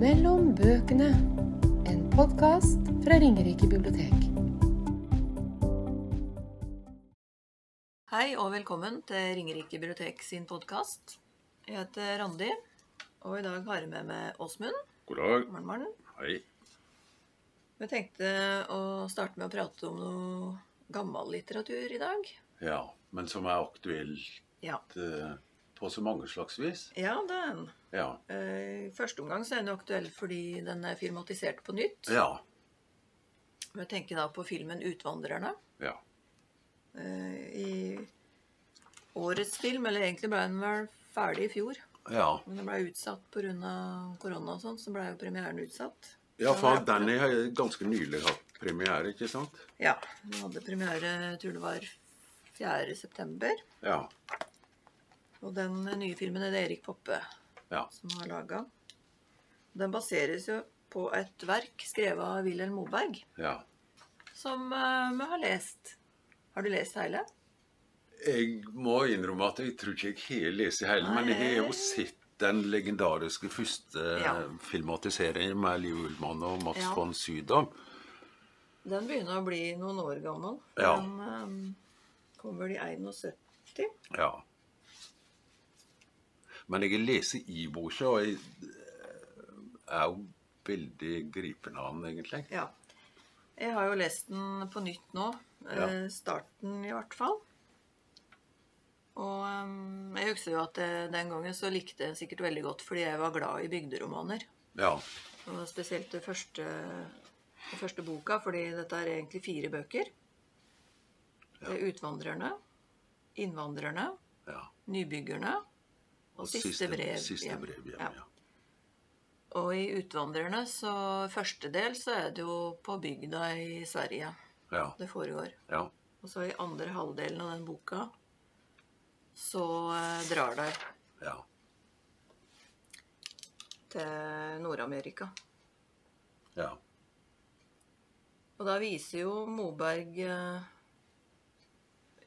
Mellom bøkene. En podkast fra Ringerike bibliotek. Hei og velkommen til Ringerike bibliotek sin podkast. Jeg heter Randi, og i dag har jeg med meg Åsmund. God dag. Morgen, morgen. Hei. Vi tenkte å starte med å prate om noe gammel litteratur i dag. Ja, men som er aktuelt Ja, eh, på så mange slags vis. ja det er den. Ja. Eh, I første omgang så er den jo aktuell fordi den er filmatisert på nytt. Ja. Vi tenker da på filmen 'Utvandrerne'. Ja. Eh, I årets film, eller egentlig ble den vel ferdig i fjor. Ja, Men den ble utsatt pga. korona og sånn, så ble jo premieren utsatt. ja Så for den er- Danny har jo ganske nylig hatt premiere, ikke sant? Ja, vi hadde premiere, jeg tror det var 4. september. Ja. Og den nye filmen er det Erik Poppe Ja. som har laga. Den baseres jo på et verk skrevet av Wilhelm Moberg, ja. som eh, vi har lest. Har du lest hele? Jeg må innrømme at jeg tror ikke jeg har lest hele, men jeg har jo sett den legendariske første Ja. filmatiseringen med Liv Ullmann og Max Ja. von Sydow. Den begynner å bli noen år gammel. Ja. Den eh, kom vel i 71. Ja. Men jeg leser i-boka, og jeg eh, er jo veldig gripende av den, egentlig. Ja. Jeg har jo lest den på nytt nå. Ja. eh, Starten, i hvert fall. Og ehm, jeg husker jo at eh, den gangen så likte jeg den sikkert veldig godt fordi jeg var glad i bygderomaner. Ja. Og spesielt det første, den første boka, fordi dette er egentlig fire bøker. Det er 'Utvandrerne', 'Innvandrerne', ja. 'Nybyggerne' og, 'Siste, brev'. Siste hjem. brev hjem, Ja. ja. Og i 'Utvandrerne' så første del så er det jo på bygda i Sverige Ja. det foregår. ja. Og så i andre halvdelen av den boka så eh, drar de ja. til Nord-Amerika. ja. Og da viser jo Moberg eh,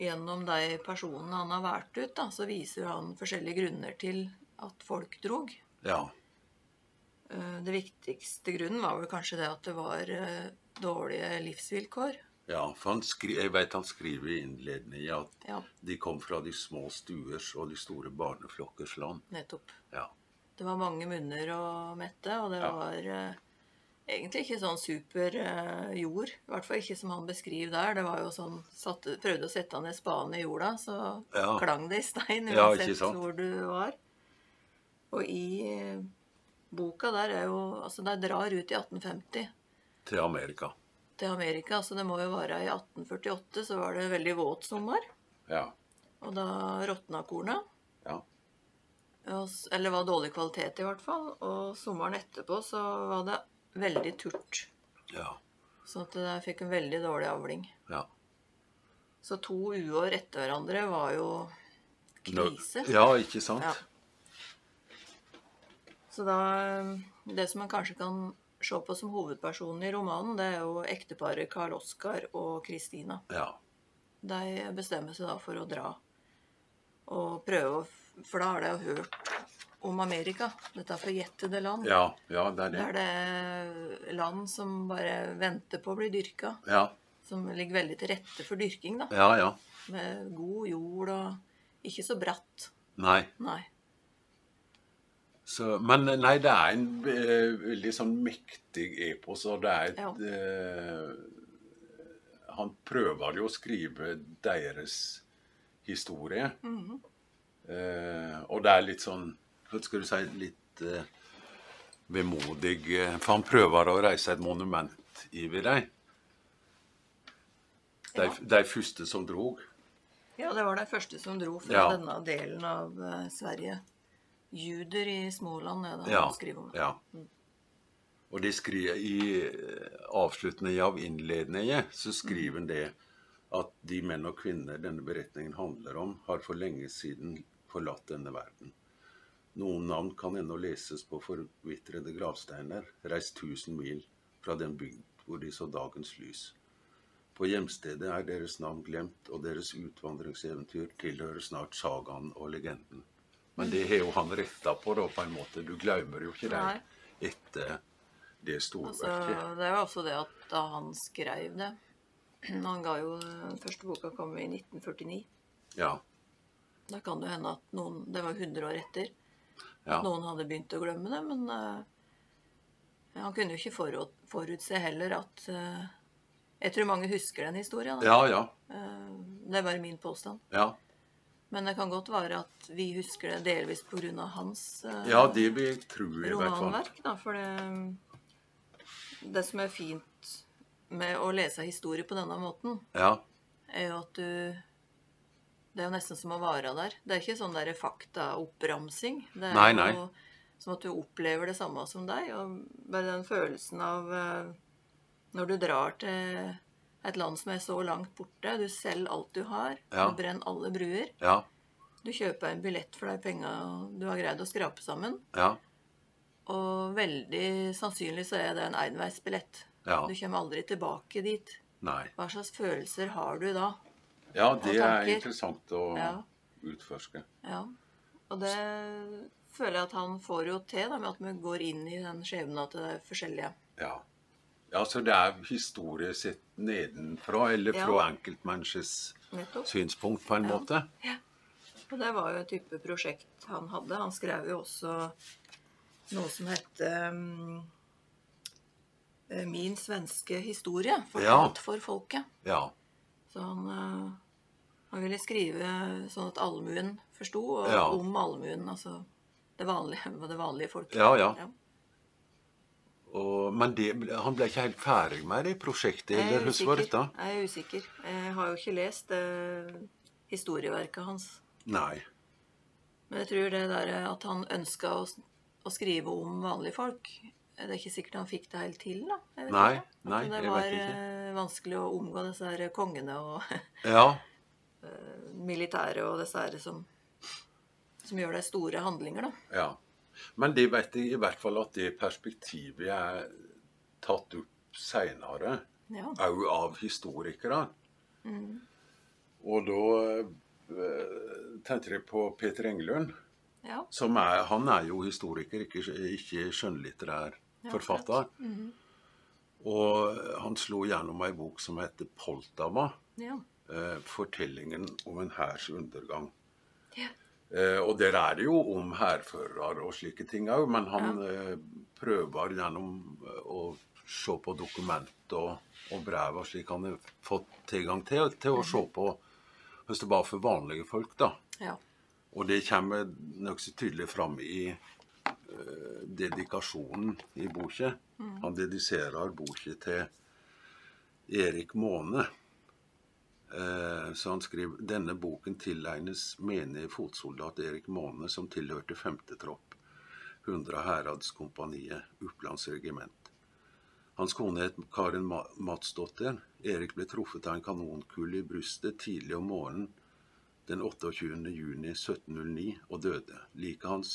gjennom de personene han har valgt ut, da, så viser jo han forskjellige grunner til at folk drog. Ja. Eh, Det viktigste grunnen var vel kanskje det at det var eh, dårlige livsvilkår. ja. For han skri jeg vet han skriver i innledningen at Ja, de kom fra de små stuers og de store barneflokkers land. nettopp. Ja. Det var mange munner å mette, og det Ja. var eh, egentlig ikke sånn super eh, jord. I hvert fall ikke som han beskriver der. Det var jo sånn, satte, Prøvde å sette ned spaden i jorda, så Ja. klang det i stein Ja, ikke uansett sant? hvor du var. Og i eh, boka der er jo Altså, de drar ut i 1850 Til Amerika. til Amerika, så det må jo være i 1848 så var det veldig våt sommer, Ja. og da råtna kornet. Ja. Og s- Eller var dårlig kvalitet, i hvert fall. Og sommeren etterpå så var det veldig turt. Ja. Så at jeg fikk en veldig dårlig avling. ja. Så to uår etter hverandre var jo Nå- krise. Ja, ikke sant? Ja. Så da eh, Det som man kanskje kan se på som hovedpersonen i romanen, det er jo ekteparet Karl Oskar og Kristina. Ja. De bestemmer seg da for å dra og prøve å f- For da har de jo hørt om Amerika. Dette forjettede land. Ja, ja det er det. Der det er land som bare venter på å bli dyrka. Ja. Som ligger veldig til rette for dyrking, da. Ja, ja. Med god jord og ikke så bratt. Nei. Nei. Så, men nei, det er en eh, veldig sånn mektig epos, og det er et Ja. eh, Han prøver jo å skrive deres historie. Mhm. Eh, og det er litt sånn Hva skal du si Litt eh, vemodig eh, For han prøver å reise et monument i ved deg. De, Ja. de første som drog. Ja, det var de første som dro fra Ja. denne delen av eh, Sverige. Juder i Småland er det Mm. han Ja. skriver om. ja. Og de skriver i eh, avslutningen av innledningen, så skriver Mm. han det at de menn og kvinner denne beretningen handler om, har for lenge siden forlatt denne verden. Noen navn kan ennå leses på forvitrede gravsteiner, reist 1000 mil fra den bygd hvor de så dagens lys. På hjemstedet er deres navn glemt, og deres utvandringseventyr tilhører snart sagaen og legenden. Men det har jo han retta på, da, på en måte. Du glemmer jo ikke det. Nei. etter det Altså, storverket. det er jo også det at da han skrev det Han ga jo eh, Første boka kom i 1949. Ja, Da kan det hende at noen Det var 100 år etter. ja, At noen hadde begynt å glemme det, men eh, han kunne jo ikke forut, forutse heller at eh, Jeg tror mange husker den historien. da. ja, ja, Eh, det er bare min påstand. ja. Men det kan godt være at vi husker det delvis pga. hans eh, Ja, det vil jeg tro i hvert fall. romanverk. Da, for det, det som er fint med å lese historie på denne måten, Ja, er jo at du Det er jo nesten som å være der. Det er ikke sånn der faktaoppramsing. Det er Nei, nei. jo som at du opplever det samme som deg. Og bare den følelsen av eh, Når du drar til et land som er så langt borte, du selger alt du har, Ja. du brenner alle bruer, ja, du kjøper en billett for de penga du har greid å skrape sammen, ja, og veldig sannsynlig så er det en enveisbillett. Ja. Du kommer aldri tilbake dit. nei. Hva slags følelser har du da? Ja, det er tanker. interessant å Ja. utforske. Ja, og det føler jeg at han får jo til, da, med at vi går inn i den skjebna til det forskjellige. Ja. ja, så det er historie sett nedenfra, eller Ja. fra enkeltmenneskes Nettopp. synspunkt, på en måte. Og det var jo et type prosjekt han hadde. Han skrev jo også noe som het um, Min svenske historie, fortalt for folket. Ja, Så han, eh, han ville skrive sånn at allmuen forsto, og Ja. om allmuen, altså det vanlige, det vanlige folket. Ja, ja. og, men det, han ble ikke helt ferdig med det prosjektet, Jeg er eller husker usikker. dette? Jeg er usikker. Jeg har jo ikke lest eh, historieverket hans. Nei. Men jeg tror det der at han ønska å, s- å skrive om vanlige folk eh, Det er ikke sikkert han fikk det helt til, da. Jeg vet Nei, ikke. At nei, det jeg var vet ikke. eh, vanskelig å omgå disse her kongene og Ja, militære og disse her som, som gjør de store handlinger, da. Ja. Men det vet jeg i hvert fall at det perspektivet er tatt opp seinere, Ja. òg av historikere. Mm. Og da eh, tenkte jeg på Peter Engelund. ja. Som er, han er jo historiker, ikke, ikke skjønnlitterær forfatter. Og han slo gjennom ei bok som heter 'Poltava'. Ja. eh, fortellingen om en hærs undergang. Ja. Eh, og der er det jo om hærførere og slike ting òg, men han eh, prøver gjennom eh, å se på dokument og, og brev og slik han har fått tilgang til, til å se på hvis det var for vanlige folk, da. ja. Og det kommer nokså tydelig fram i eh, dedikasjonen i boka. Han dediserer boka til Erik Måne. Eh, så han skriver denne boken tilegnes menig fotsoldat Erik Måne, som tilhørte 5. tropp, 100 Hæradskompaniet, Opplandsregiment. Hans kone het Karin Ma- Madsdotter. Erik ble truffet av en kanonkule i brystet tidlig om morgenen den 28. juni 1709 og døde. Liket hans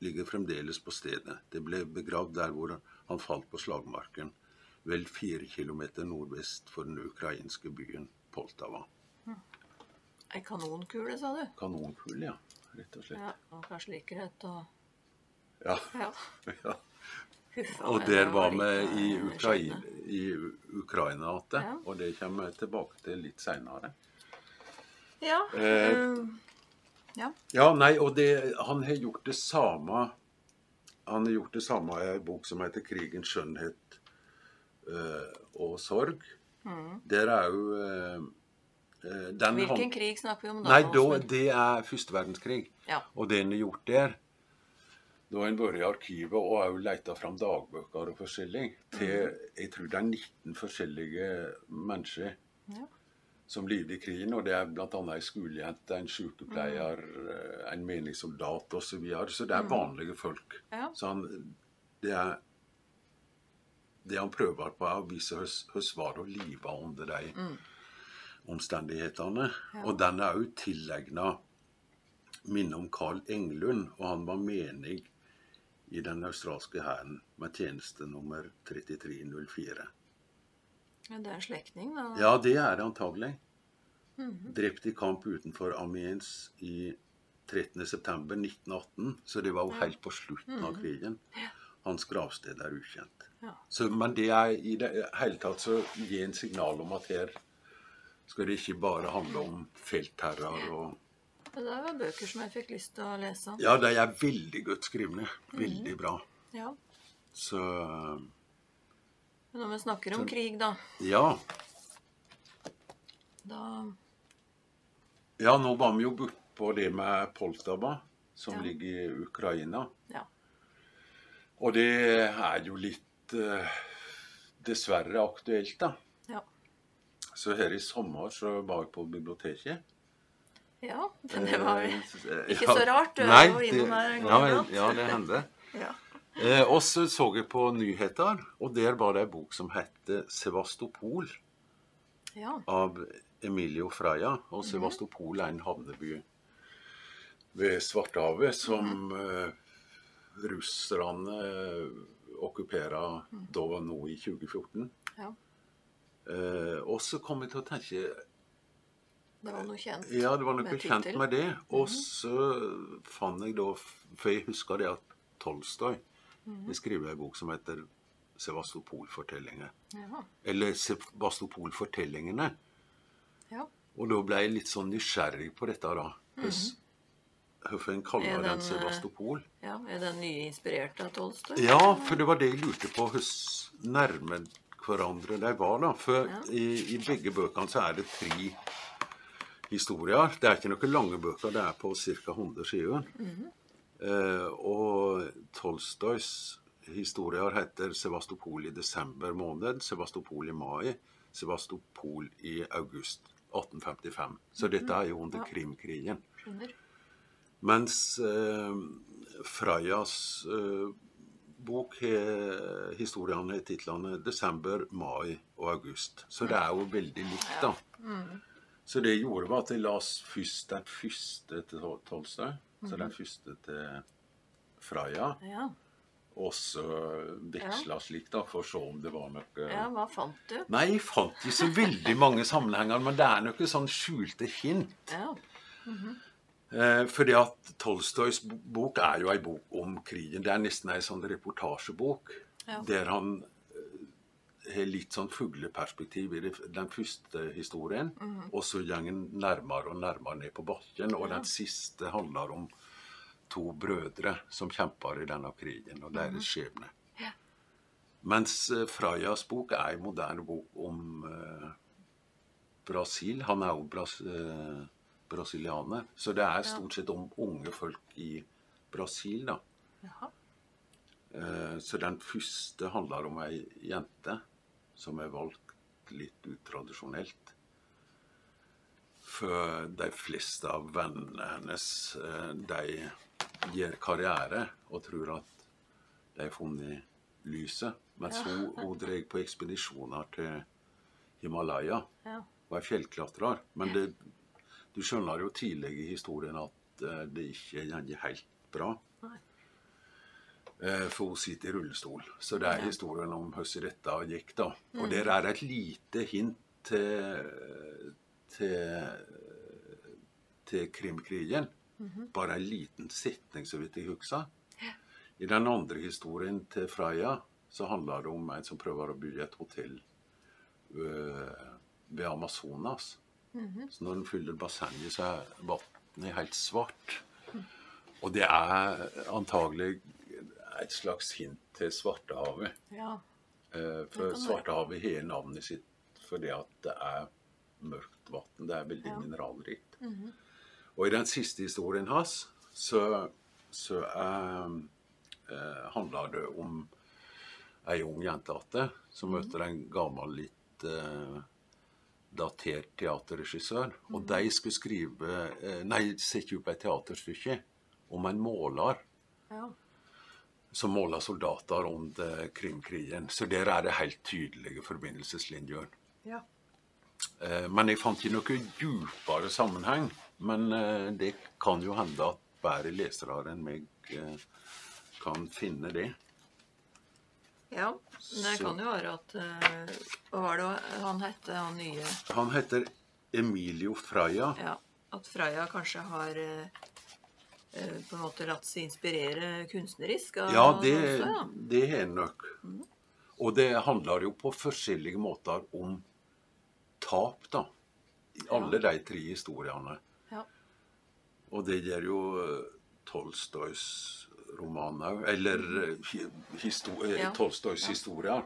ligger fremdeles på stedet. Det ble begravd der hvor han falt på slagmarken, vel fire kilometer nordvest for den ukrainske byen Poltava. Ei kanonkule, sa du? Kanonkull, ja. Rett og slett. Ja. Og kanskje likhet og Ja. Ja. ja. Huffa, Og meg, der det eh, var vi ikke i en Ukraina, skjebne. i U- Ukraina at det, Ja. og det kommer jeg tilbake til litt seinere. Ja. Eh, ehm, ja. Ja, nei, og det, han har gjort det samme Han har gjort det samme i en bok som heter 'Krigens skjønnhet eh, og sorg'. Der er jo eh, eh, den Mm. Hvilken han- krig snakker vi om da? Nei, da, Åsmund? det er første verdenskrig. Ja. Og det en har gjort der Da har en vært i arkivet og òg leita fram dagbøker og forskjellig til Mm. Jeg tror det er 19 forskjellige mennesker Ja. som levde i krigen. Og det er bl.a. ei skolejente, en sykepleier, eh, en meningssoldat osv. Så, videre. så det er vanlige folk. Ja. Så han, det er det han prøver på, er å vise hvordan var det å live under de omstendighetene. Og den er òg tilegna minnet om Carl Englund, og han var menig i den australske hæren med tjeneste nummer 3304. Men Det er en slektning, da. Ja, det er det antagelig. Drept i kamp utenfor Amiens i 13.9.1918, så det var jo helt på slutten av krigen. Hans gravsted er ukjent. Ja. Så, men det er i det hele tatt så gir en signal om at her skal det ikke bare handle om feltherrer og Det der var bøker som jeg fikk lyst til å lese. Ja, de er veldig godt skrevne. Veldig bra. Ja. Så Men når vi snakker om krig, da, ja. da Ja, nå var vi jo bortpå det med Poltava, som Ja. ligger i Ukraina. Ja. Og det er jo litt eh, dessverre aktuelt, da. Ja. Så her i sommer så var jeg på biblioteket. ja det var Eh, ikke ja. så rart, du er Nei, jo innom her en det- gang ja, iblant. ja, det hender. ja. Eh, og så så jeg på nyheter, og der var det ei bok som het 'Sevastopol' ja. av Emilio Freia. Og Sevastopol er en havneby ved Svartehavet som eh, russerne uh, okkuperer da var nå i 2014. Mm. Ja. Eh, og så kom jeg til å tenke Det var noe kjent. ja, det var noe Med Mhm. kjent tittel. med det. Og så fant jeg da For jeg husker det at Tolstoy Mhm. mm. skriver en bok som heter 'Sevastopol-fortellinger'. Ja. Eller 'Sevastopol-fortellingene'. Ja. Og da ble jeg litt sånn nysgjerrig på dette, da. Høs- Hvorfor en kaller Mhm. Er den, den eh, Sevastopol? ja. Er den nye inspirert av Tolstoy? Ja, for det var det jeg lurte på. Hvordan nærme hverandre de var, da. For Ja. i, i begge bøkene så er det tre historier. Det er ikke noen lange bøker, det er på ca. 100 sider. Mhm. eh, og Tolstojs historier heter 'Sevastopol i desember måned', 'Sevastopol i mai', 'Sevastopol i august'. 1855. Så dette er jo under Mhm. Ja. Krimkrigen. Skjønner. Mens eh, Freyas eh, bok har historiene i titlene 'Desember', 'Mai' og 'August'. Så det er jo veldig likt, da. Så det gjorde var at jeg las først den første til Tol- Tolstoy, så den første til Freya, Ja. og så veksla slik, da, for å se om det var noe ja, hva fant du? Nei, jeg fant ikke så veldig mange sammenhenger, men det er noen sånn skjulte hint. Ja. Eh, fordi at Tolstojs bo- bok er jo ei bok om krigen. Det er nesten ei sånn reportasjebok Ja. der han eh, har litt sånn fugleperspektiv i det f- den første historien, Mhm. og så går han nærmere og nærmere ned på bakken, og den siste handler om to brødre som kjemper i denne krigen, og deres skjebne. Mhm. Ja. Mens eh, Freyas bok er ei moderne bok om eh, Brasil. Han er jo bras, eh, brasilianer. Så det er stort sett om unge folk i Brasil, da. Jaha. Eh, så den første handler om ei jente som er valgt litt utradisjonelt. For de fleste av vennene hennes, eh, de gjør karriere og tror at de har funnet lyset. Mens hun, hun drar på ekspedisjoner til Himalaya Ja. og er fjellklatrer. Men det, du skjønner jo tidlig i historien at eh, det ikke går helt bra. Nei. Eh, For hun sitter i rullestol. Så det er historien om hvordan dette gikk, da. Og der er et lite hint til, til, til Krimkrigen. Bare en liten setning, så vidt jeg husker. I den andre historien til Freya så handler det om en som prøver å bygge et hotell øh, ved Amazonas. Så når den fyller bassenget, så er vannet helt svart. Og det er antagelig et slags hint til Svartehavet. Ja. Eh, For Det kan være. Svartehavet har navnet sitt fordi at det er mørkt vann. Det er veldig Ja. Mhm. mineralrikt. Og i den siste historien hans så, så eh, eh, handler det om ei ung jente atte som Mhm. møter en gammel, litt eh, datert teaterregissør. Mhm. Og de skulle skrive eh, Nei, sette opp et teaterstykke om en måler Ja. som måler soldater under Krimkrigen. Så der er det helt tydelige forbindelseslinjer. Ja. Eh, Men jeg fant ikke noen dypere sammenheng. Men eh, det kan jo hende at bedre lesere enn meg eh, kan finne det. ja. Men det Så- kan jo være at eh, Hva var det han hette, han nye Han heter Emilio Freya. Ja. At Freya kanskje har eh, eh, på en måte latt seg inspirere kunstnerisk? av- Ja, det, også, ja. det har en nok. Og det handler jo på forskjellige måter om tap, da. I alle de tre historiene. Ja. Og det gjør jo eh, Tolstojs roman òg. Eller eh, hi- histo eh, Mm. Ja. Tolstojs historier.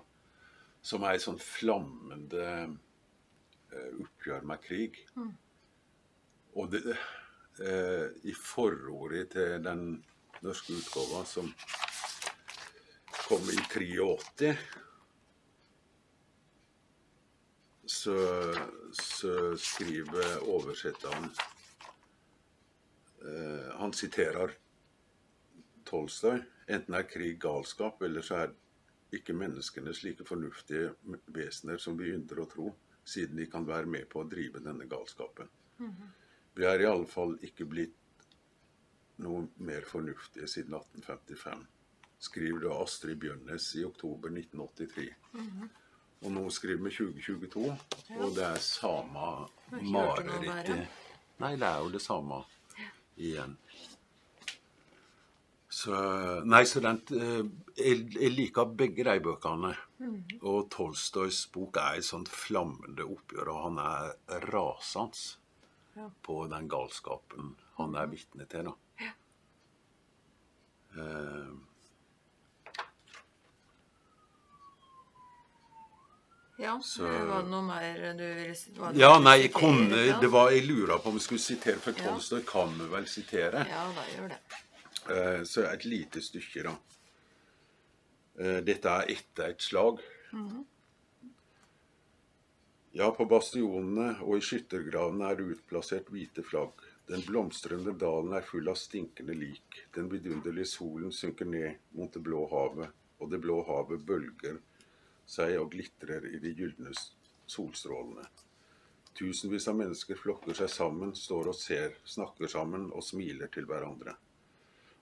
Som er et sånn flammende eh, oppgjør med krig. Mm. Og det, eh, i forordet til den norske utgåva som kom i 83 så, så skriver oversetteren eh, Han siterer Tolstoy. Enten er krig galskap, eller så er ikke menneskene slike fornuftige vesener som vi ynder å tro, siden de kan være med på å drive denne galskapen. Vi er i alle fall ikke blitt noe mer fornuftige siden 1855, skriver da Astrid Bjørnes i oktober 1983. Og nå skriver vi 2022, og det er samme Det er ikke hørte noe der, ja. marerittet. Nei, det er jo det samme igjen. Så, nei, så den, eh, jeg, jeg liker begge de bøkene. Og Tolstojs bok er et sånt flammende oppgjør, og han er rasende på den galskapen han er vitne til. Da. Eh, Ja, Eh, Var det noe mer du ville si? var det ja, noe du nei, ville jeg kunne, sitere, ja? det var, jeg lurer på om jeg skulle sitere, for Ja. Tolstoy kan vi vel sitere. Ja, da gjør det. Eh, Så et lite stykke, da. Eh, Dette er etter et slag. Ja, på bastionene og i skyttergravene er det utplassert hvite flagg. Den blomstrende dalen er full av stinkende lik. Den vidunderlige solen synker ned mot det blå havet, og det blå havet bølger seg og glitrer i de gylne s- solstrålene. Tusenvis av mennesker flokker seg sammen, står og ser, snakker sammen og smiler til hverandre.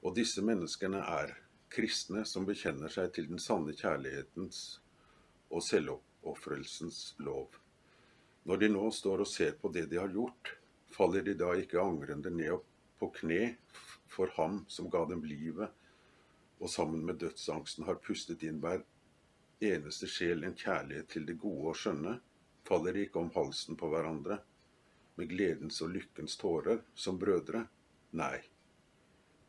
Og disse menneskene er kristne som bekjenner seg til den sanne kjærlighetens og selvoppofrelsens lov. Når de nå står og ser på det de har gjort, faller de da ikke angrende ned opp på kne f- for ham som ga dem livet, og sammen med dødsangsten har pustet inn hver eneste sjel en kjærlighet til det gode og skjønne, faller de ikke om halsen på hverandre med gledens og lykkens tårer som brødre? Nei.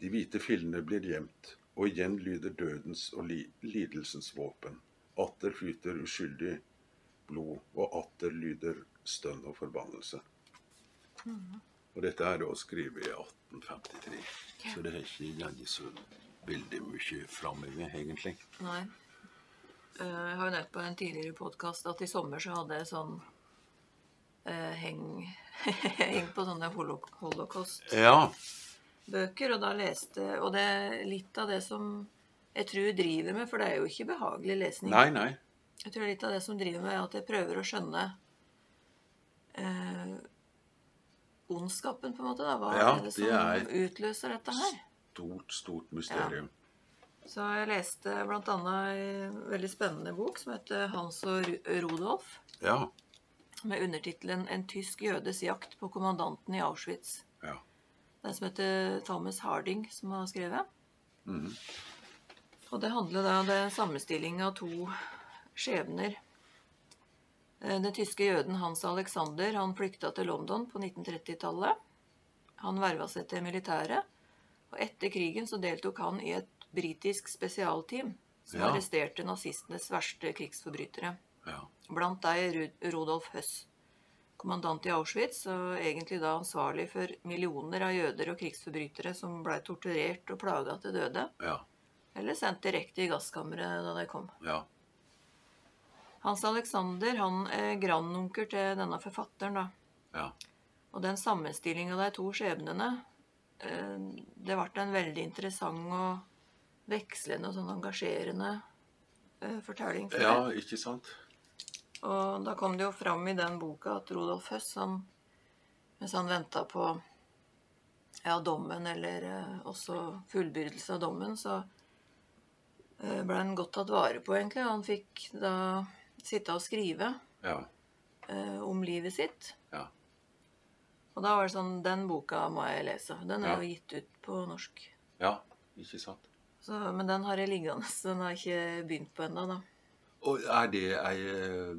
De hvite fillene blir gjemt, og igjen lyder dødens og li lidelsens våpen. Atter flyter uskyldig blod, og atter lyder stønn og forbannelse. Og dette er da skrevet i 1853, så det er ikke ganske så veldig mye framover, egentlig. Nei. Eh, Jeg har jo nevnt på en tidligere podkast at i sommer så hadde jeg sånn eh, heng, heng på sånne holo- holocaustbøker. Ja, Og da leste Og det er litt av det som jeg tror driver med, for det er jo ikke behagelig lesning. nei, nei. Jeg tror litt av det som driver meg, er at jeg prøver å skjønne eh, ondskapen, på en måte. da. Hva Ja, er det det som er- utløser dette her? Stort, stort mysterium. Så jeg leste bl.a. en veldig spennende bok som heter Hans og Ru- Rudolf, Ja, med undertittelen 'En tysk jødes jakt på kommandanten i Auschwitz'. ja. Den som heter Thomas Harding, som har skrevet. Og det handler da om det er en sammenstilling av to skjebner. Eh, Den tyske jøden Hans Alexander han flykta til London på 1930-tallet. Han verva seg til militæret, og etter krigen så deltok han i et britisk spesialteam som Ja. arresterte nazistenes verste krigsforbrytere. ja. Blant deg Ru- Rudolf Høss, kommandant i Auschwitz, og egentlig da ansvarlig for millioner av jøder og krigsforbrytere som ble torturert og plaga til døde, Ja, eller sendt direkte i gasskammeret da de kom. ja. Hans Alexander han er grandonker til denne forfatteren, da. Ja, Og den sammenstillinga av de to skjebnene, eh, det ble en veldig interessant og vekslende og sånn engasjerende eh, fortelling. for ja meg. ikke sant? Og da kom det jo fram i den boka at Rodolf Høss, han, mens han venta på ja, dommen, eller eh, også fullbyrdelse av dommen, så eh, ble han godt tatt vare på, egentlig. Han fikk da sitte og skrive Ja, eh, om livet sitt. ja. Og da var det sånn Den boka må jeg lese. Den er Ja. jo gitt ut på norsk. Ja, ikke sant? Så, men den har jeg liggende. så Den har jeg ikke begynt på ennå, da. Og er det ei eh,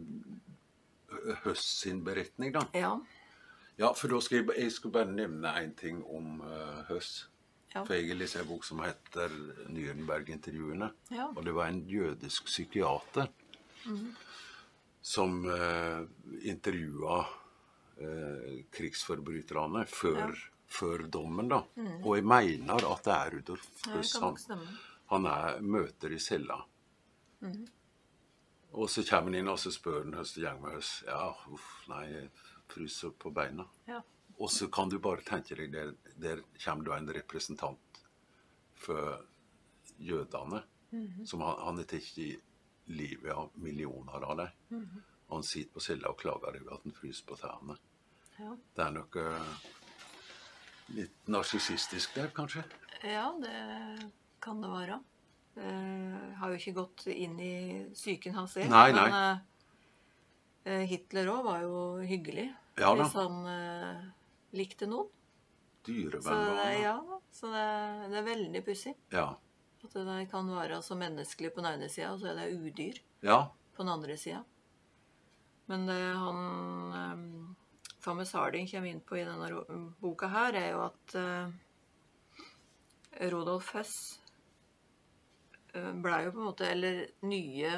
Høst sin beretning, da? Ja. Ja, for da skal jeg, ba- jeg skal bare nevne én ting om eh, Høss. Ja. For jeg har lest en bok som heter 'Nürnberg-intervjuene'. Ja. Og det var en jødisk psykiater som uh, intervjua eh, krigsforbryterne før, før dommen, da. Og jeg mener at det er Rudolf Mm. Ja, det Høss kan han, nok stemme. Mm. han er, møter i cella. Og så kommer han inn og så spør han høst og gjeng med høst. Ja, uff, nei, jeg fryser på beina. Ja. Og så kan du bare tenke deg, der, der kommer da en representant for jødene. Mhm. Som han, han har tatt i livet av millioner av dem. Mhm. Og han sitter på cella og klager over at han fryser på tærne. Ja. Det er noe litt narsissistisk der, kanskje? ja, det kan det være. Eh, har jo ikke gått inn i psyken hans selv. Nei, men nei. eh, Hitler òg var jo hyggelig. Ja da. hvis han eh, likte noen. Så det, Dyrevernbarn. ja, da. så det, det er veldig pussig. ja. At det der kan være så menneskelig på den ene sida, og så er det udyr Ja. på den andre sida. Men det han um, Thomas Harding kommer inn på i denne ro- boka her, er jo at eh, Rodolf Høss eh, blei jo på en måte Eller nye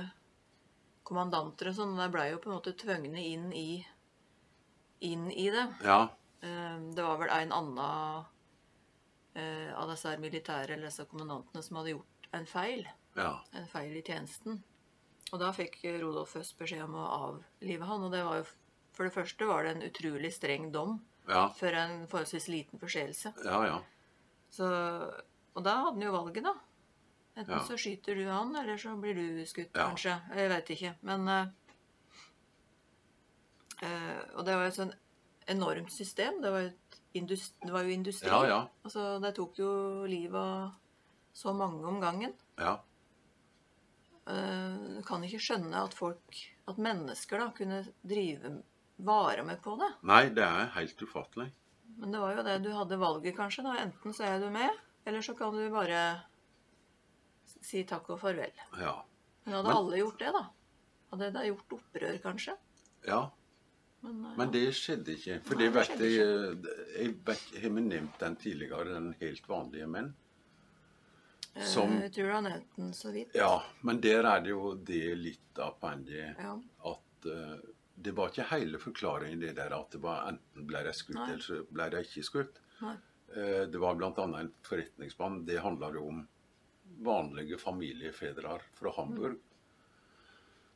kommandanter og sånn, de blei jo på en måte tvungne inn i, inn i det. ja. Eh, Det var vel en annen eh, av disse her militære eller disse kommandantene som hadde gjort en feil. Ja. En feil i tjenesten. Og da fikk Rodolf Høss beskjed om å avlive han. Og det var jo For det første var det en utrolig streng dom Ja. for en forholdsvis liten forseelse. Ja, ja. Så, og da hadde han jo valget, da. Enten Ja. så skyter du han, eller så blir du skutt, Ja. kanskje. Jeg veit ikke. Men eh, eh, Og det var jo et sånn enormt system. Det var, jo et indus- det var jo industri. Ja, ja. Altså, det tok jo livet av så mange om gangen. ja. Eh, Du kan ikke skjønne at folk, at mennesker da, kunne drive vare med på det. Nei, det er helt ufattelig. Men det var jo det du hadde valget, kanskje. da. Enten så er du med, eller så kan du bare si takk og farvel. Ja. Men hadde Men- alle gjort det, da? Hadde de gjort opprør, kanskje? ja. Men, eh, Men det skjedde ikke. For Nei, det det vet skjedde jeg eh, Jeg vet, har vi nevnt den tidligere, den helt vanlige menn? eh, som- Jeg tror du har nevnt den så vidt. Ja, men der er det jo det litt av poenget Ja. at eh, det var ikke hele forklaringen det der at det var enten ble de skutt Nei. eller så ble de ikke skutt. Nei. Eh, det var bl.a. en forretningsmann. Det handla jo om vanlige familiefedre fra Hamburg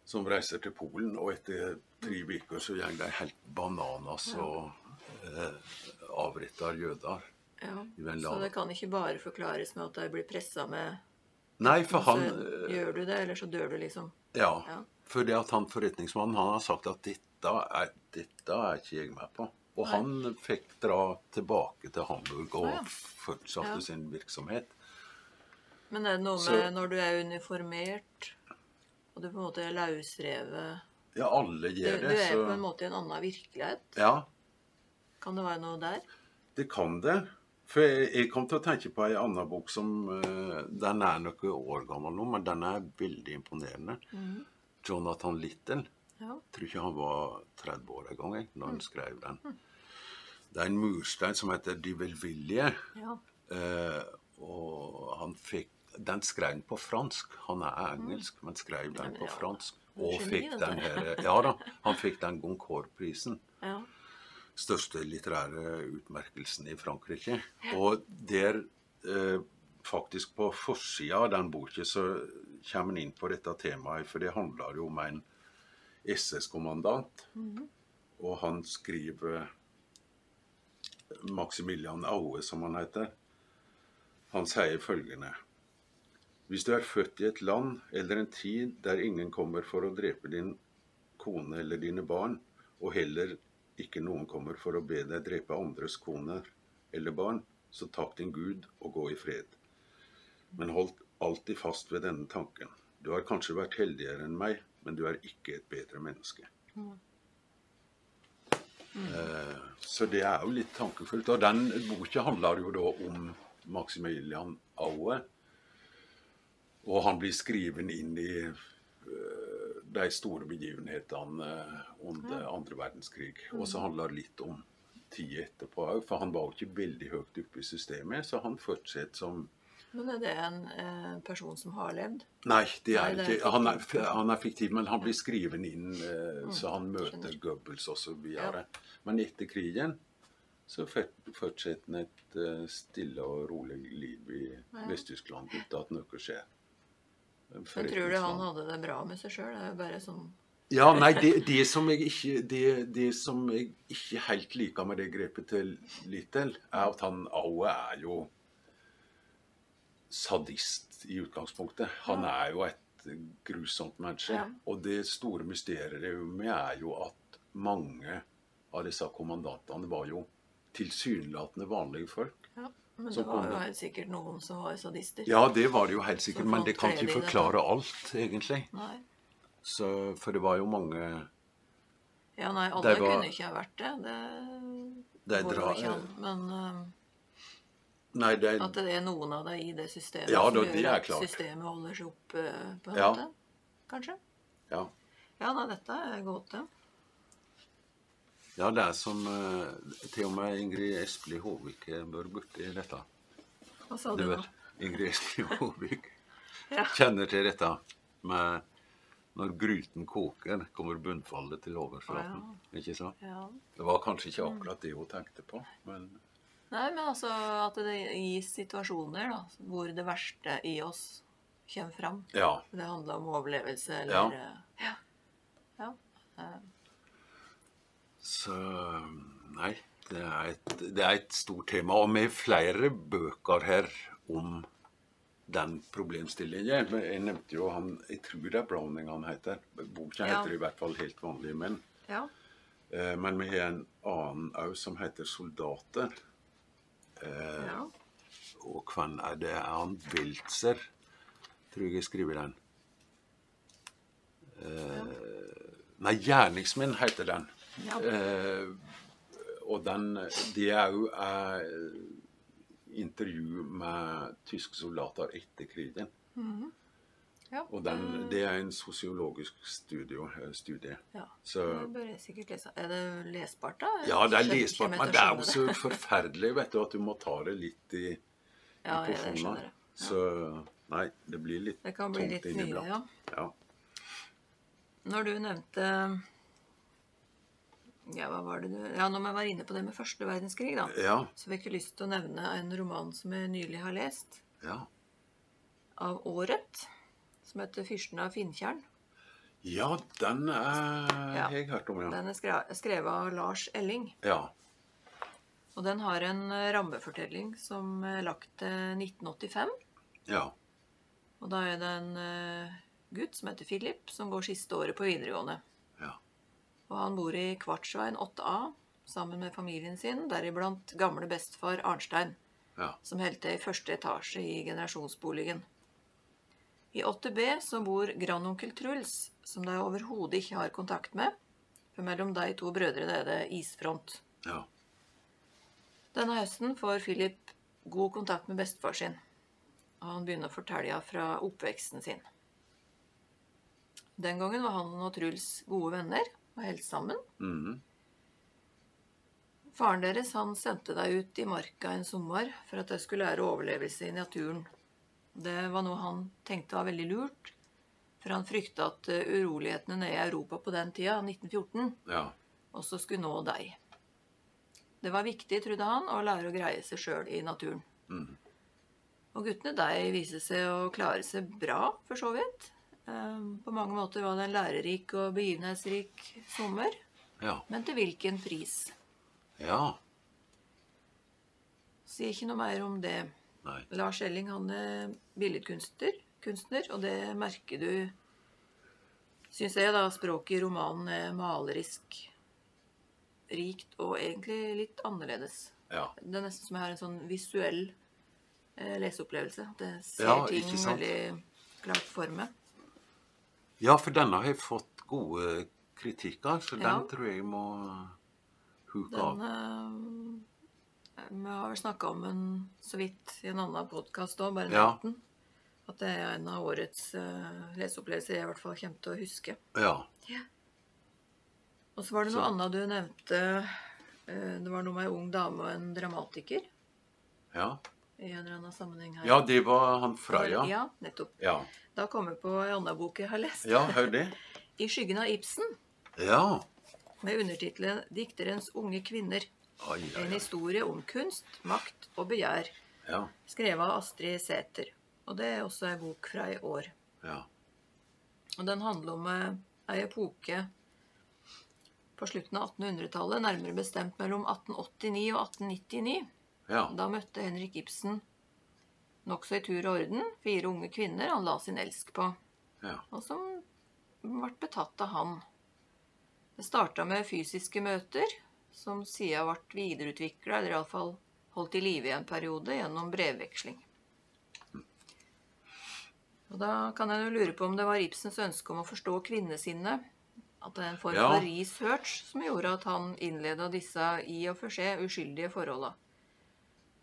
som reiser til Polen, og etter tre uker så går de helt bananas og eh, avretter jøder. ja. I den Så lagen. det kan ikke bare forklares med at de blir pressa med Nei, for han Så eh, gjør du det, eller så dør du, liksom. Ja. Ja. For det at han forretningsmannen han har sagt at dette er, dette er ikke jeg med på. Og han fikk dra tilbake til Hamburg og Å, ja. fortsatte Ja. sin virksomhet. Men er det noe Så- med når du er uniformert, og du på en måte er løsrevet Ja, alle du, gjør du det, er på en så måte i en annen virkelighet. Ja, Kan det være noe der? det kan det. For jeg, jeg kom til å tenke på ei anna bok som eh, Den er noen år gammel nå, men den er veldig imponerende. Mm. Jonathan Little. Ja. Jeg tror ikke han var 30 år en gang jeg, når Mm. han skrev den. Det er en murstein som heter De velvillige. ja. Eh, og han fikk Den skrev han på fransk. Han er engelsk, men skrev den men på Mm. ja, fransk. han Og skjønner fikk ikke den dette. her, ja da, han fikk den Goncourt-prisen. ja. Største litterære utmerkelsen i Frankrike. Og der, eh, faktisk på forsida av den boka, så kommer han inn på dette temaet. For det handler jo om en SS-kommandant. Og han skriver Maximilian Aue, som han heter. Han sier følgende Hvis du er født i et land eller en tid der ingen kommer for å drepe din kone eller dine barn, og heller ikke noen kommer for å be deg drepe andres koner eller barn, så takk din Gud og gå i fred. Men hold alltid fast ved denne tanken. Du har kanskje vært heldigere enn meg, men du er ikke et bedre menneske. Eh, Så det er jo litt tankefullt. Og den boka handler jo da om Maximilian Aue. Og han blir skrevet inn i eh, de store begivenhetene eh, under andre verdenskrig. Og Mm. så handler det litt om tida etterpå òg, for han var jo ikke veldig høyt oppe i systemet, så han fortsetter som Men er det en eh, person som har levd? Nei, det er Nei, det er ikke. Han er, fiktivt. han er fiktiv, men han blir skrevet inn eh, så han møter Mm, skjønner. Goebbels osv. videre. Men etter krigen så fort- fortsetter han et eh, stille og rolig liv i Ja. Vest-Tyskland uten at noe skjer. Men tror du han Forretningsmann. hadde det bra med seg sjøl? Det er jo bare sånn Ja, nei, det, det, som jeg ikke, det, det som jeg ikke helt liker med det grepet til Little, er at han Aue er jo sadist i utgangspunktet. Han er jo et grusomt menneske. Ja. Og det store mysteriet med er jo at mange av disse kommandantene var jo tilsynelatende vanlige folk. ja. Men Så det var jo kommer- helt sikkert noen som var sadister. Ja, det var det jo helt sikkert, Så men det fant kan flere ikke i det. forklare alt, egentlig. Nei. Så, for det var jo mange Ja, nei, alle Det var- kunne ikke ha vært det. Det, Det går jo drar- ikke an. Men eh, Nei, det er at det er noen av deg i det systemet Ja, da, som det gjør er at klart. systemet holder seg oppe, eh, på en Ja. måte. Kanskje? Ja. Ja, nei, dette er gåte. Ja, det er som eh, til og med Ingrid Espelid Håvik eh, bør borti dette. Hva sa Du du nå? vet, Ingrid Espelid Håvik Ja. kjenner til dette med når gryten koker, kommer bunnfallet til overflaten. Ikke sant? Ja. Det var kanskje ikke akkurat det hun tenkte på, men Nei, men altså at det gis situasjoner da, hvor det verste i oss kommer fram. ja. Det handler om overlevelse Ja. eller eh, ja. ja. eh, Så nei, det er, et, det er et stort tema. Og vi har flere bøker her om den problemstillingen. Men Jeg nevnte jo han Jeg tror det er Browning han heter. Boka Ja. heter i hvert fall 'Helt vanlige menn'. ja. Eh, Men vi har en annen òg som heter 'Soldater'. Eh, ja. Og hvem er det? Er han Weltzer? Tror jeg jeg skriver den. Eh, nei, 'Gjerningsmenn' heter den. Ja. Eh, og den, det er jo eh, intervju med tyske soldater etter krigen. Ja. eh, Og den, det er en sosiologisk studio, eh, studie. Mm. Ja. Så Det bør jeg sikkert lese. Er det lesbart, da? ja, det er Skjønner- lesbart, kommer jeg men til det å er skjønne jo så forferdelig vet du, at du må ta det litt i, i Ja, ja, det porsjoner. skjønner jeg. Ja. Så nei, det blir litt Det kan bli tungt litt mye, inniblant. ja. Ja. Når du nevnte Ja, hva var det du Ja, når man var inne på det med første verdenskrig, da, Ja, så fikk jeg lyst til å nevne en roman som jeg nylig har lest, ja. av Året, som heter 'Fyrsten av Finntjern'. ja, den eh, Ja. har jeg hørt om, ja. Den er skre- skrevet av Lars Elling. ja. Og den har en eh, rammefortelling som er lagt til 1985. Ja. Og da er det en eh, gutt som heter Philip, som går siste året på videregående. Ja. Og han bor i Kvartsveien 8A sammen med familien sin, deriblant gamle bestefar Arnstein, Ja. som holdt til i første etasje i generasjonsboligen. I 8B så bor grandonkel Truls, som de overhodet ikke har kontakt med, for mellom de to brødrene er det isfront. ja. Denne høsten får Philip god kontakt med bestefar sin, og han begynner å fortelle henne fra oppveksten sin. Den gangen var han og Truls gode venner og helt sammen. Mhm. Faren deres han sendte deg ut i marka en sommer for at jeg skulle lære overlevelse i naturen. Det var noe han tenkte var veldig lurt, for han frykta at eh, urolighetene nede i Europa på den tida, 1914, Ja. også skulle nå deg. Det var viktig, trodde han, å lære å greie seg sjøl i naturen. Og guttene de viste seg å klare seg bra, for så vidt. Ehm, På mange måter var det en lærerik og begivenhetsrik sommer, Ja. men til hvilken pris? Ja. Sier ikke noe mer om det. Nei. Lars Elling han er billedkunstner, kunstner, og det merker du, syns jeg, da språket i romanen er malerisk, rikt og egentlig litt annerledes. Ja. Det er nesten som jeg har en sånn visuell eh, leseopplevelse. At jeg ser Ja, ting ikke sant? veldig klart for meg. ja, for denne har jeg fått gode kritikker, så Ja. den tror jeg må Huk Den av. eh, Vi har vel snakka om den så vidt i en annen podkast òg, bare Ja. nevnt den. At det er en av årets eh, leseopplevelser jeg i hvert fall kommer til å huske. Ja. Og så var det noe Så- annet du nevnte. eh, Det var noe med ei ung dame og en dramatiker Ja. i en eller annen sammenheng her. ja, det var han Freya. Ja, nettopp. Ja. Da kom jeg på ei anna bok jeg har lest. Ja, hør det. 'I skyggen av Ibsen', Ja. med undertittelen 'Dikterens unge kvinner'. Ai, ai, En ai. historie om kunst, makt og begjær. Ja. Skrevet av Astrid Sæther. Og det er også ei bok fra i år. Ja. Og den handler om eh, ei epoke på slutten av 1800-tallet, nærmere bestemt mellom 1889 og 1899. Ja. Da møtte Henrik Ibsen nokså i tur og orden fire unge kvinner han la sin elsk på, ja. og som ble betatt av han. Det starta med fysiske møter, som siden ble videreutvikla, eller iallfall holdt i live i en periode, gjennom brevveksling. Og da kan en jo lure på om det var Ibsens ønske om å forstå kvinnesinnet. At det er en form Ja. for research som gjorde at han innleda disse i og for seg uskyldige forholda.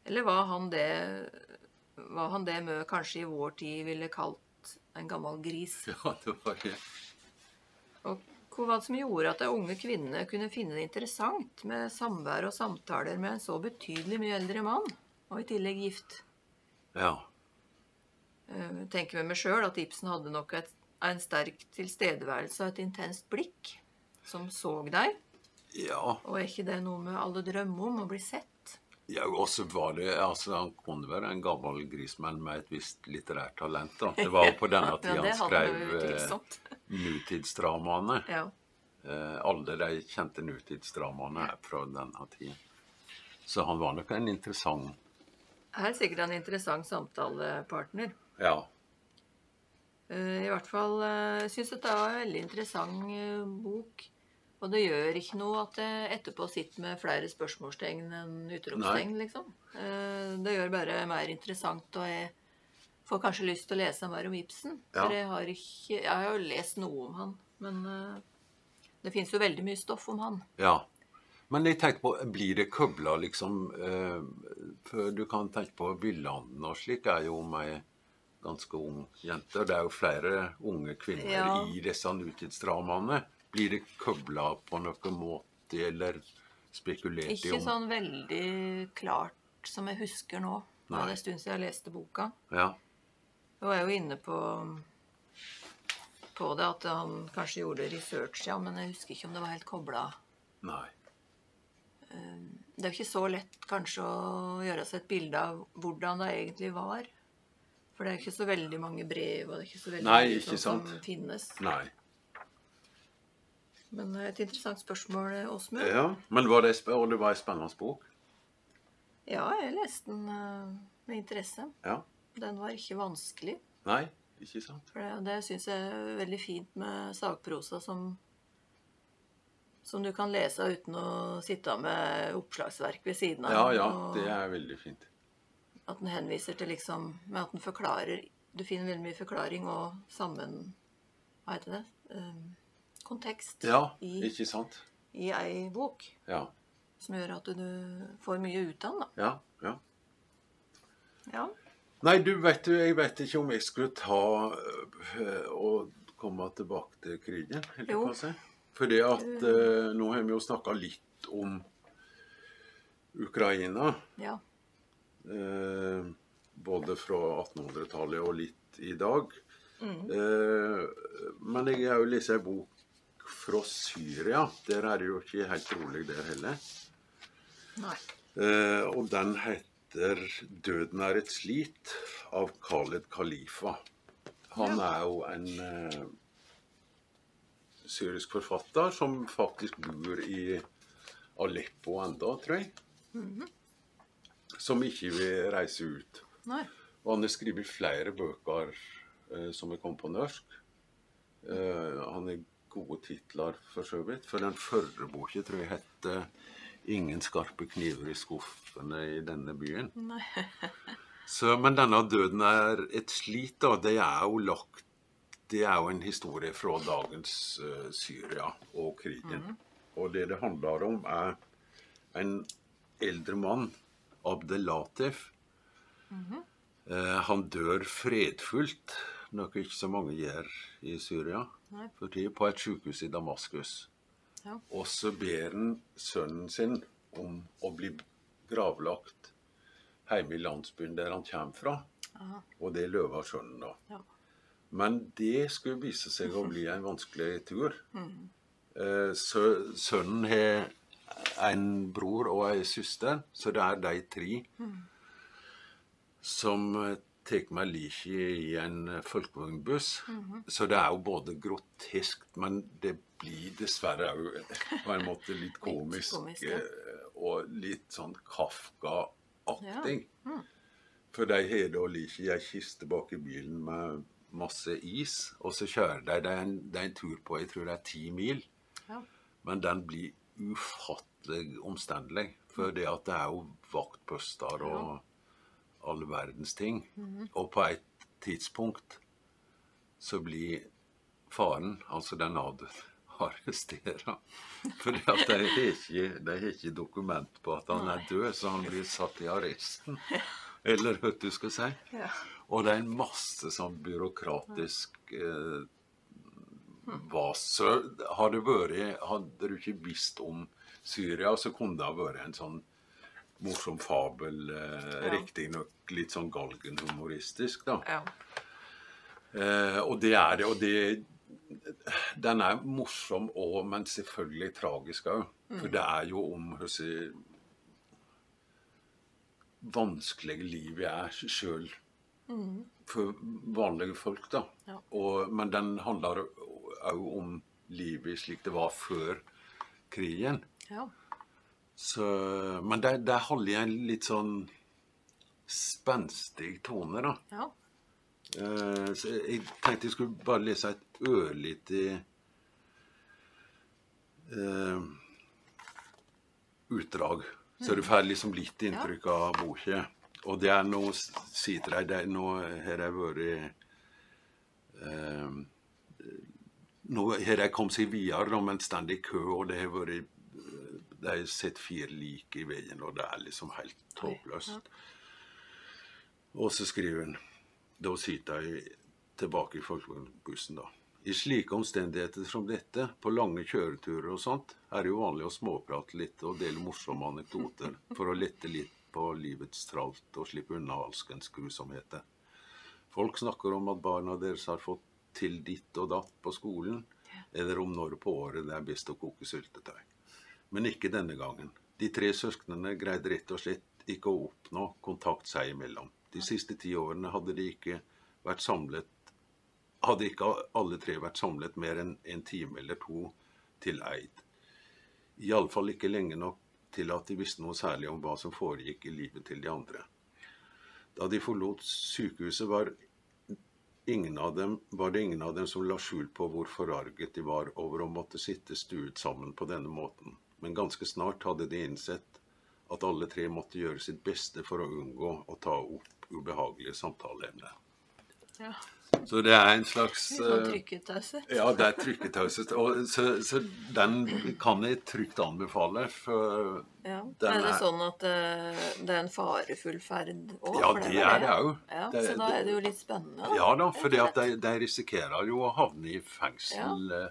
Eller var han det Var han det Mø kanskje i vår tid ville kalt en gammel gris? Ja, det var det. Og hva var det som gjorde at de unge kvinnene kunne finne det interessant med samvær og samtaler med en så betydelig mye eldre mann, og i tillegg gift? Ja. Eh, tenker med meg sjøl at Ibsen hadde nok et, en sterk tilstedeværelse og et intenst blikk som så deg. Ja. Og er ikke det noe med alle drømmer om å bli sett? Ja, og så var det, altså Han kunne være en gammel grismann med et visst litterært talent. da. Det var jo på denne Ja, tida det han hadde skrev jo eh, utvilsomt. nutidsdramaene. Ja. Eh, alle de kjente nutidsdramaene er fra denne tida. Så han var nok en interessant Her er sikkert en interessant samtalepartner. Ja. Eh, I hvert fall eh, syns jeg dette var en veldig interessant eh, bok. Og det gjør ikke noe at jeg etterpå sitter med flere spørsmålstegn enn utropstegn, liksom. Eh, Det gjør bare mer interessant, og jeg får kanskje lyst til å lese mer om Ibsen. Ja. For jeg har, ikke, jeg har jo lest noe om han, men eh, det fins jo veldig mye stoff om han. ja. Men jeg tenker på, blir det kobla, liksom eh, For du kan tenke på Villanden og slik er jo om ei ganske ung jente. og Det er jo flere unge kvinner Ja. i disse nutidsdramaene. Blir det kobla på noen måte, eller spekulert i Ikke om sånn veldig klart som jeg husker nå. Det Nei. er en stund siden jeg leste boka. Ja. Jeg var jo inne på, på det at han kanskje gjorde research, ja, men jeg husker ikke om det var helt kobla. Nei. Det er jo ikke så lett kanskje å gjøre seg et bilde av hvordan det egentlig var. For det er jo ikke så veldig mange brev, og det er ikke så veldig Nei, mye ikke sånt som sant. finnes. Nei. Men eh, et interessant spørsmål, Åsmund. Ja. Ja. Men var det, sp- og det var ei spennende bok? jeg leste den eh, med interesse. Ja. Den var ikke vanskelig. Nei, ikke sant? For det, det syns jeg er veldig fint med sakprosa som, som du kan lese uten å sitte med oppslagsverk ved siden av. Ja, ja, og det er veldig fint. At den henviser til liksom Med at den forklarer Du finner veldig mye forklaring og sammen Hva heter det? Ehm, kontekst Ja, i, ikke sant? i ei bok. Ja, Som gjør at du, du får mye ut av den, da. ja, ja. Ja. Nei, du vet jo, jeg vet ikke om jeg skulle ta øh, og komme tilbake til krigen, helt Jo. på seg. Fordi at øh, nå har vi jo snakka litt om Ukraina. ja. eh, både fra 1800-tallet og litt i dag. Mm. Eh, men jeg har jo lest ei bok fra Syria. Der er det jo ikke helt rolig der heller. Nei. Eh, og den heter 'Døden er et slit' av Khaled Khalifa. Han er jo en eh, syrisk forfatter som faktisk bor i Aleppo enda, tror jeg. Som ikke vil reise ut. Nei. Og han har skrevet flere bøker eh, som er kommet på norsk. Eh, han har gode titler, for så vidt. For den forrige boka tror jeg het eh, 'Ingen skarpe kniver i skuffene i denne byen'. Nei. Så, men denne 'Døden er et slit', da, det er jo lagt Det er jo en historie fra dagens eh, Syria og krigen. Og det det handler om, er en eldre mann, Abdelatif. Eh, han dør fredfullt, noe ikke så mange gjør i Syria Nei. for tiden, på et sykehus i Damaskus. Ja. Og så ber han sønnen sin om å bli gravlagt hjemme i landsbyen der han kommer fra, Aha. og det løver sønnen da. Ja. Men det skulle vise seg å bli en vanskelig tur. Mm. Eh, sø, sønnen har en bror og ei søster, så det er de tre Mm. som eh, tar med liket i en eh, folkevognbuss. Mm-hmm. Så det er jo både grotesk, men det blir dessverre òg på en måte litt komisk. komisk, ja. eh, Og litt sånn Kafka-aktig. For de har da liket i ei kiste bak i bilen med masse is, og så kjører de det er en, det er en tur på jeg tror det er ti mil. Ja. Men den blir ufattelig omstendelig. For det at det er jo vaktposter og all verdens ting. Og på et tidspunkt så blir faren, altså den avdøde, arrestert. For de har ikke, de har ikke dokument på at han er død, så han blir satt i arresten. Eller hva du skal si. Ja. Og det er en masse sånn byråkratisk eh, vas. Så har det vært, hadde du ikke visst om Syria, så kunne det ha vært en sånn morsom fabel. Eh, Ja. Riktignok litt sånn galgenhumoristisk, da. Ja. Eh, og det er det. Og det, den er morsom òg, men selvfølgelig tragisk òg. For det er jo om hvordan vanskelige livet er sjøl for vanlige folk, da. Ja. Og, men den handler òg om livet slik det var før krigen. ja. Så, men der, der holder jeg en litt sånn spenstig tone, da. ja. Eh, så jeg tenkte jeg skulle bare lese et ørlite eh, utdrag. Så du får liksom litt inntrykk av boka. Og det er noe sier til deg, det er noe har jeg vært eh, Nå har jeg kommet seg videre, da, men står i kø, og det har vært eh, De har sett fire lik i veien, og det er liksom helt håpløst. Og så skriver hun da sitter jeg tilbake i folkebussen, da. I slike omstendigheter som dette, på lange kjøreturer og sånt, er det jo vanlig å småprate litt og dele morsomme anekdoter for å lette litt på livets tralt og slippe unna alskens grusomheter. Folk snakker om at barna deres har fått til ditt og datt på skolen, eller om når på året det er best å koke syltetøy. Men ikke denne gangen. De tre søsknene greide rett og slett ikke å oppnå kontakt seg imellom. De siste ti årene hadde de ikke vært samlet Hadde ikke alle tre vært samlet mer enn en time eller to til Eid. Iallfall ikke lenge nok til at de visste noe særlig om hva som foregikk i livet til de andre. Da de forlot sykehuset, var ingen av dem, var det ingen av dem som la skjul på hvor forarget de var over å måtte sitte stuet sammen på denne måten. Men ganske snart hadde de innsett at alle tre måtte gjøre sitt beste for å unngå å ta opp ubehagelige samtaleemner. ja. Så det er en slags Litt sånn eh, trykketaushet. ja, det er trykketaushet. Og Så, så den kan jeg trygt anbefale. For, Ja. Den Er det er- sånn at eh, det er en farefull ferd òg? Ja, det er det jo. Ja, Det- så da er det jo litt spennende. da. ja da, for de, de risikerer jo å havne i fengsel. eh,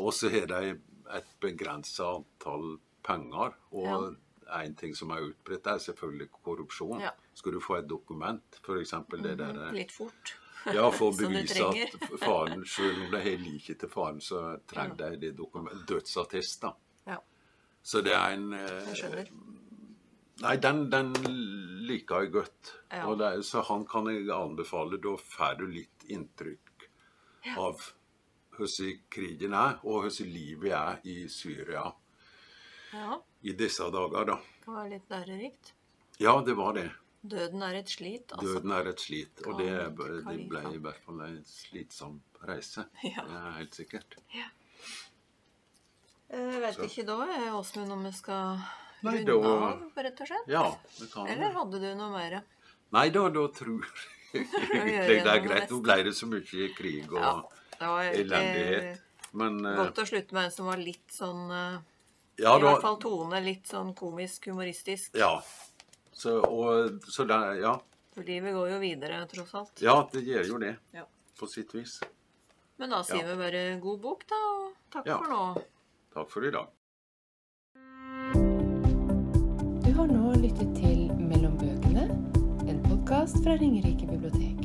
Og så har de et begrensa antall penger. Og en ting som er utbredt, er selvfølgelig korrupsjon. Ja. Skal du få et dokument, f.eks. det der eh, Litt fort. Ja, for å Som du bevise trenger. at faren, selv om det er liket til faren, så trenger de det dokumentet. Dødsattest, da. Ja, Så det er en eh, jeg skjønner. Nei, den, den liker jeg godt. Ja. Og det, er- så han kan jeg anbefale. Da får du litt inntrykk av hvordan krigen er, og hvordan livet er i Syria Ja, i disse dager, da. det kan være litt lærerikt. Ja, det var det. Døden er et slit, altså. Døden er et slit, og det, Kan- det kan- ble i hvert fall en slitsom reise. Ja. Det er helt sikkert. Jeg vet Så. ikke da, eh, Åsmund, om vi skal Nei, runde da- av, rett og slett. Ja, vi kan Eller hadde du noe mer? Nei da, da tror jeg egentlig det er gjennom greit. Nå neste. ble det så mye krig og Ja, det var egentlig elendighet. Men eh, godt å slutte med en som var litt sånn eh, Ja, I da, hvert fall tone litt sånn komisk, humoristisk. ja. Så, og, så der, ja. For livet går jo videre, tross alt. ja, det gjør jo det, Ja. på sitt vis. Men da sier Ja. vi bare god bok, da, og takk Ja. for nå. Takk for i dag. Du har nå lyttet til Mellom bøkene, en podkast fra Ringerike bibliotek.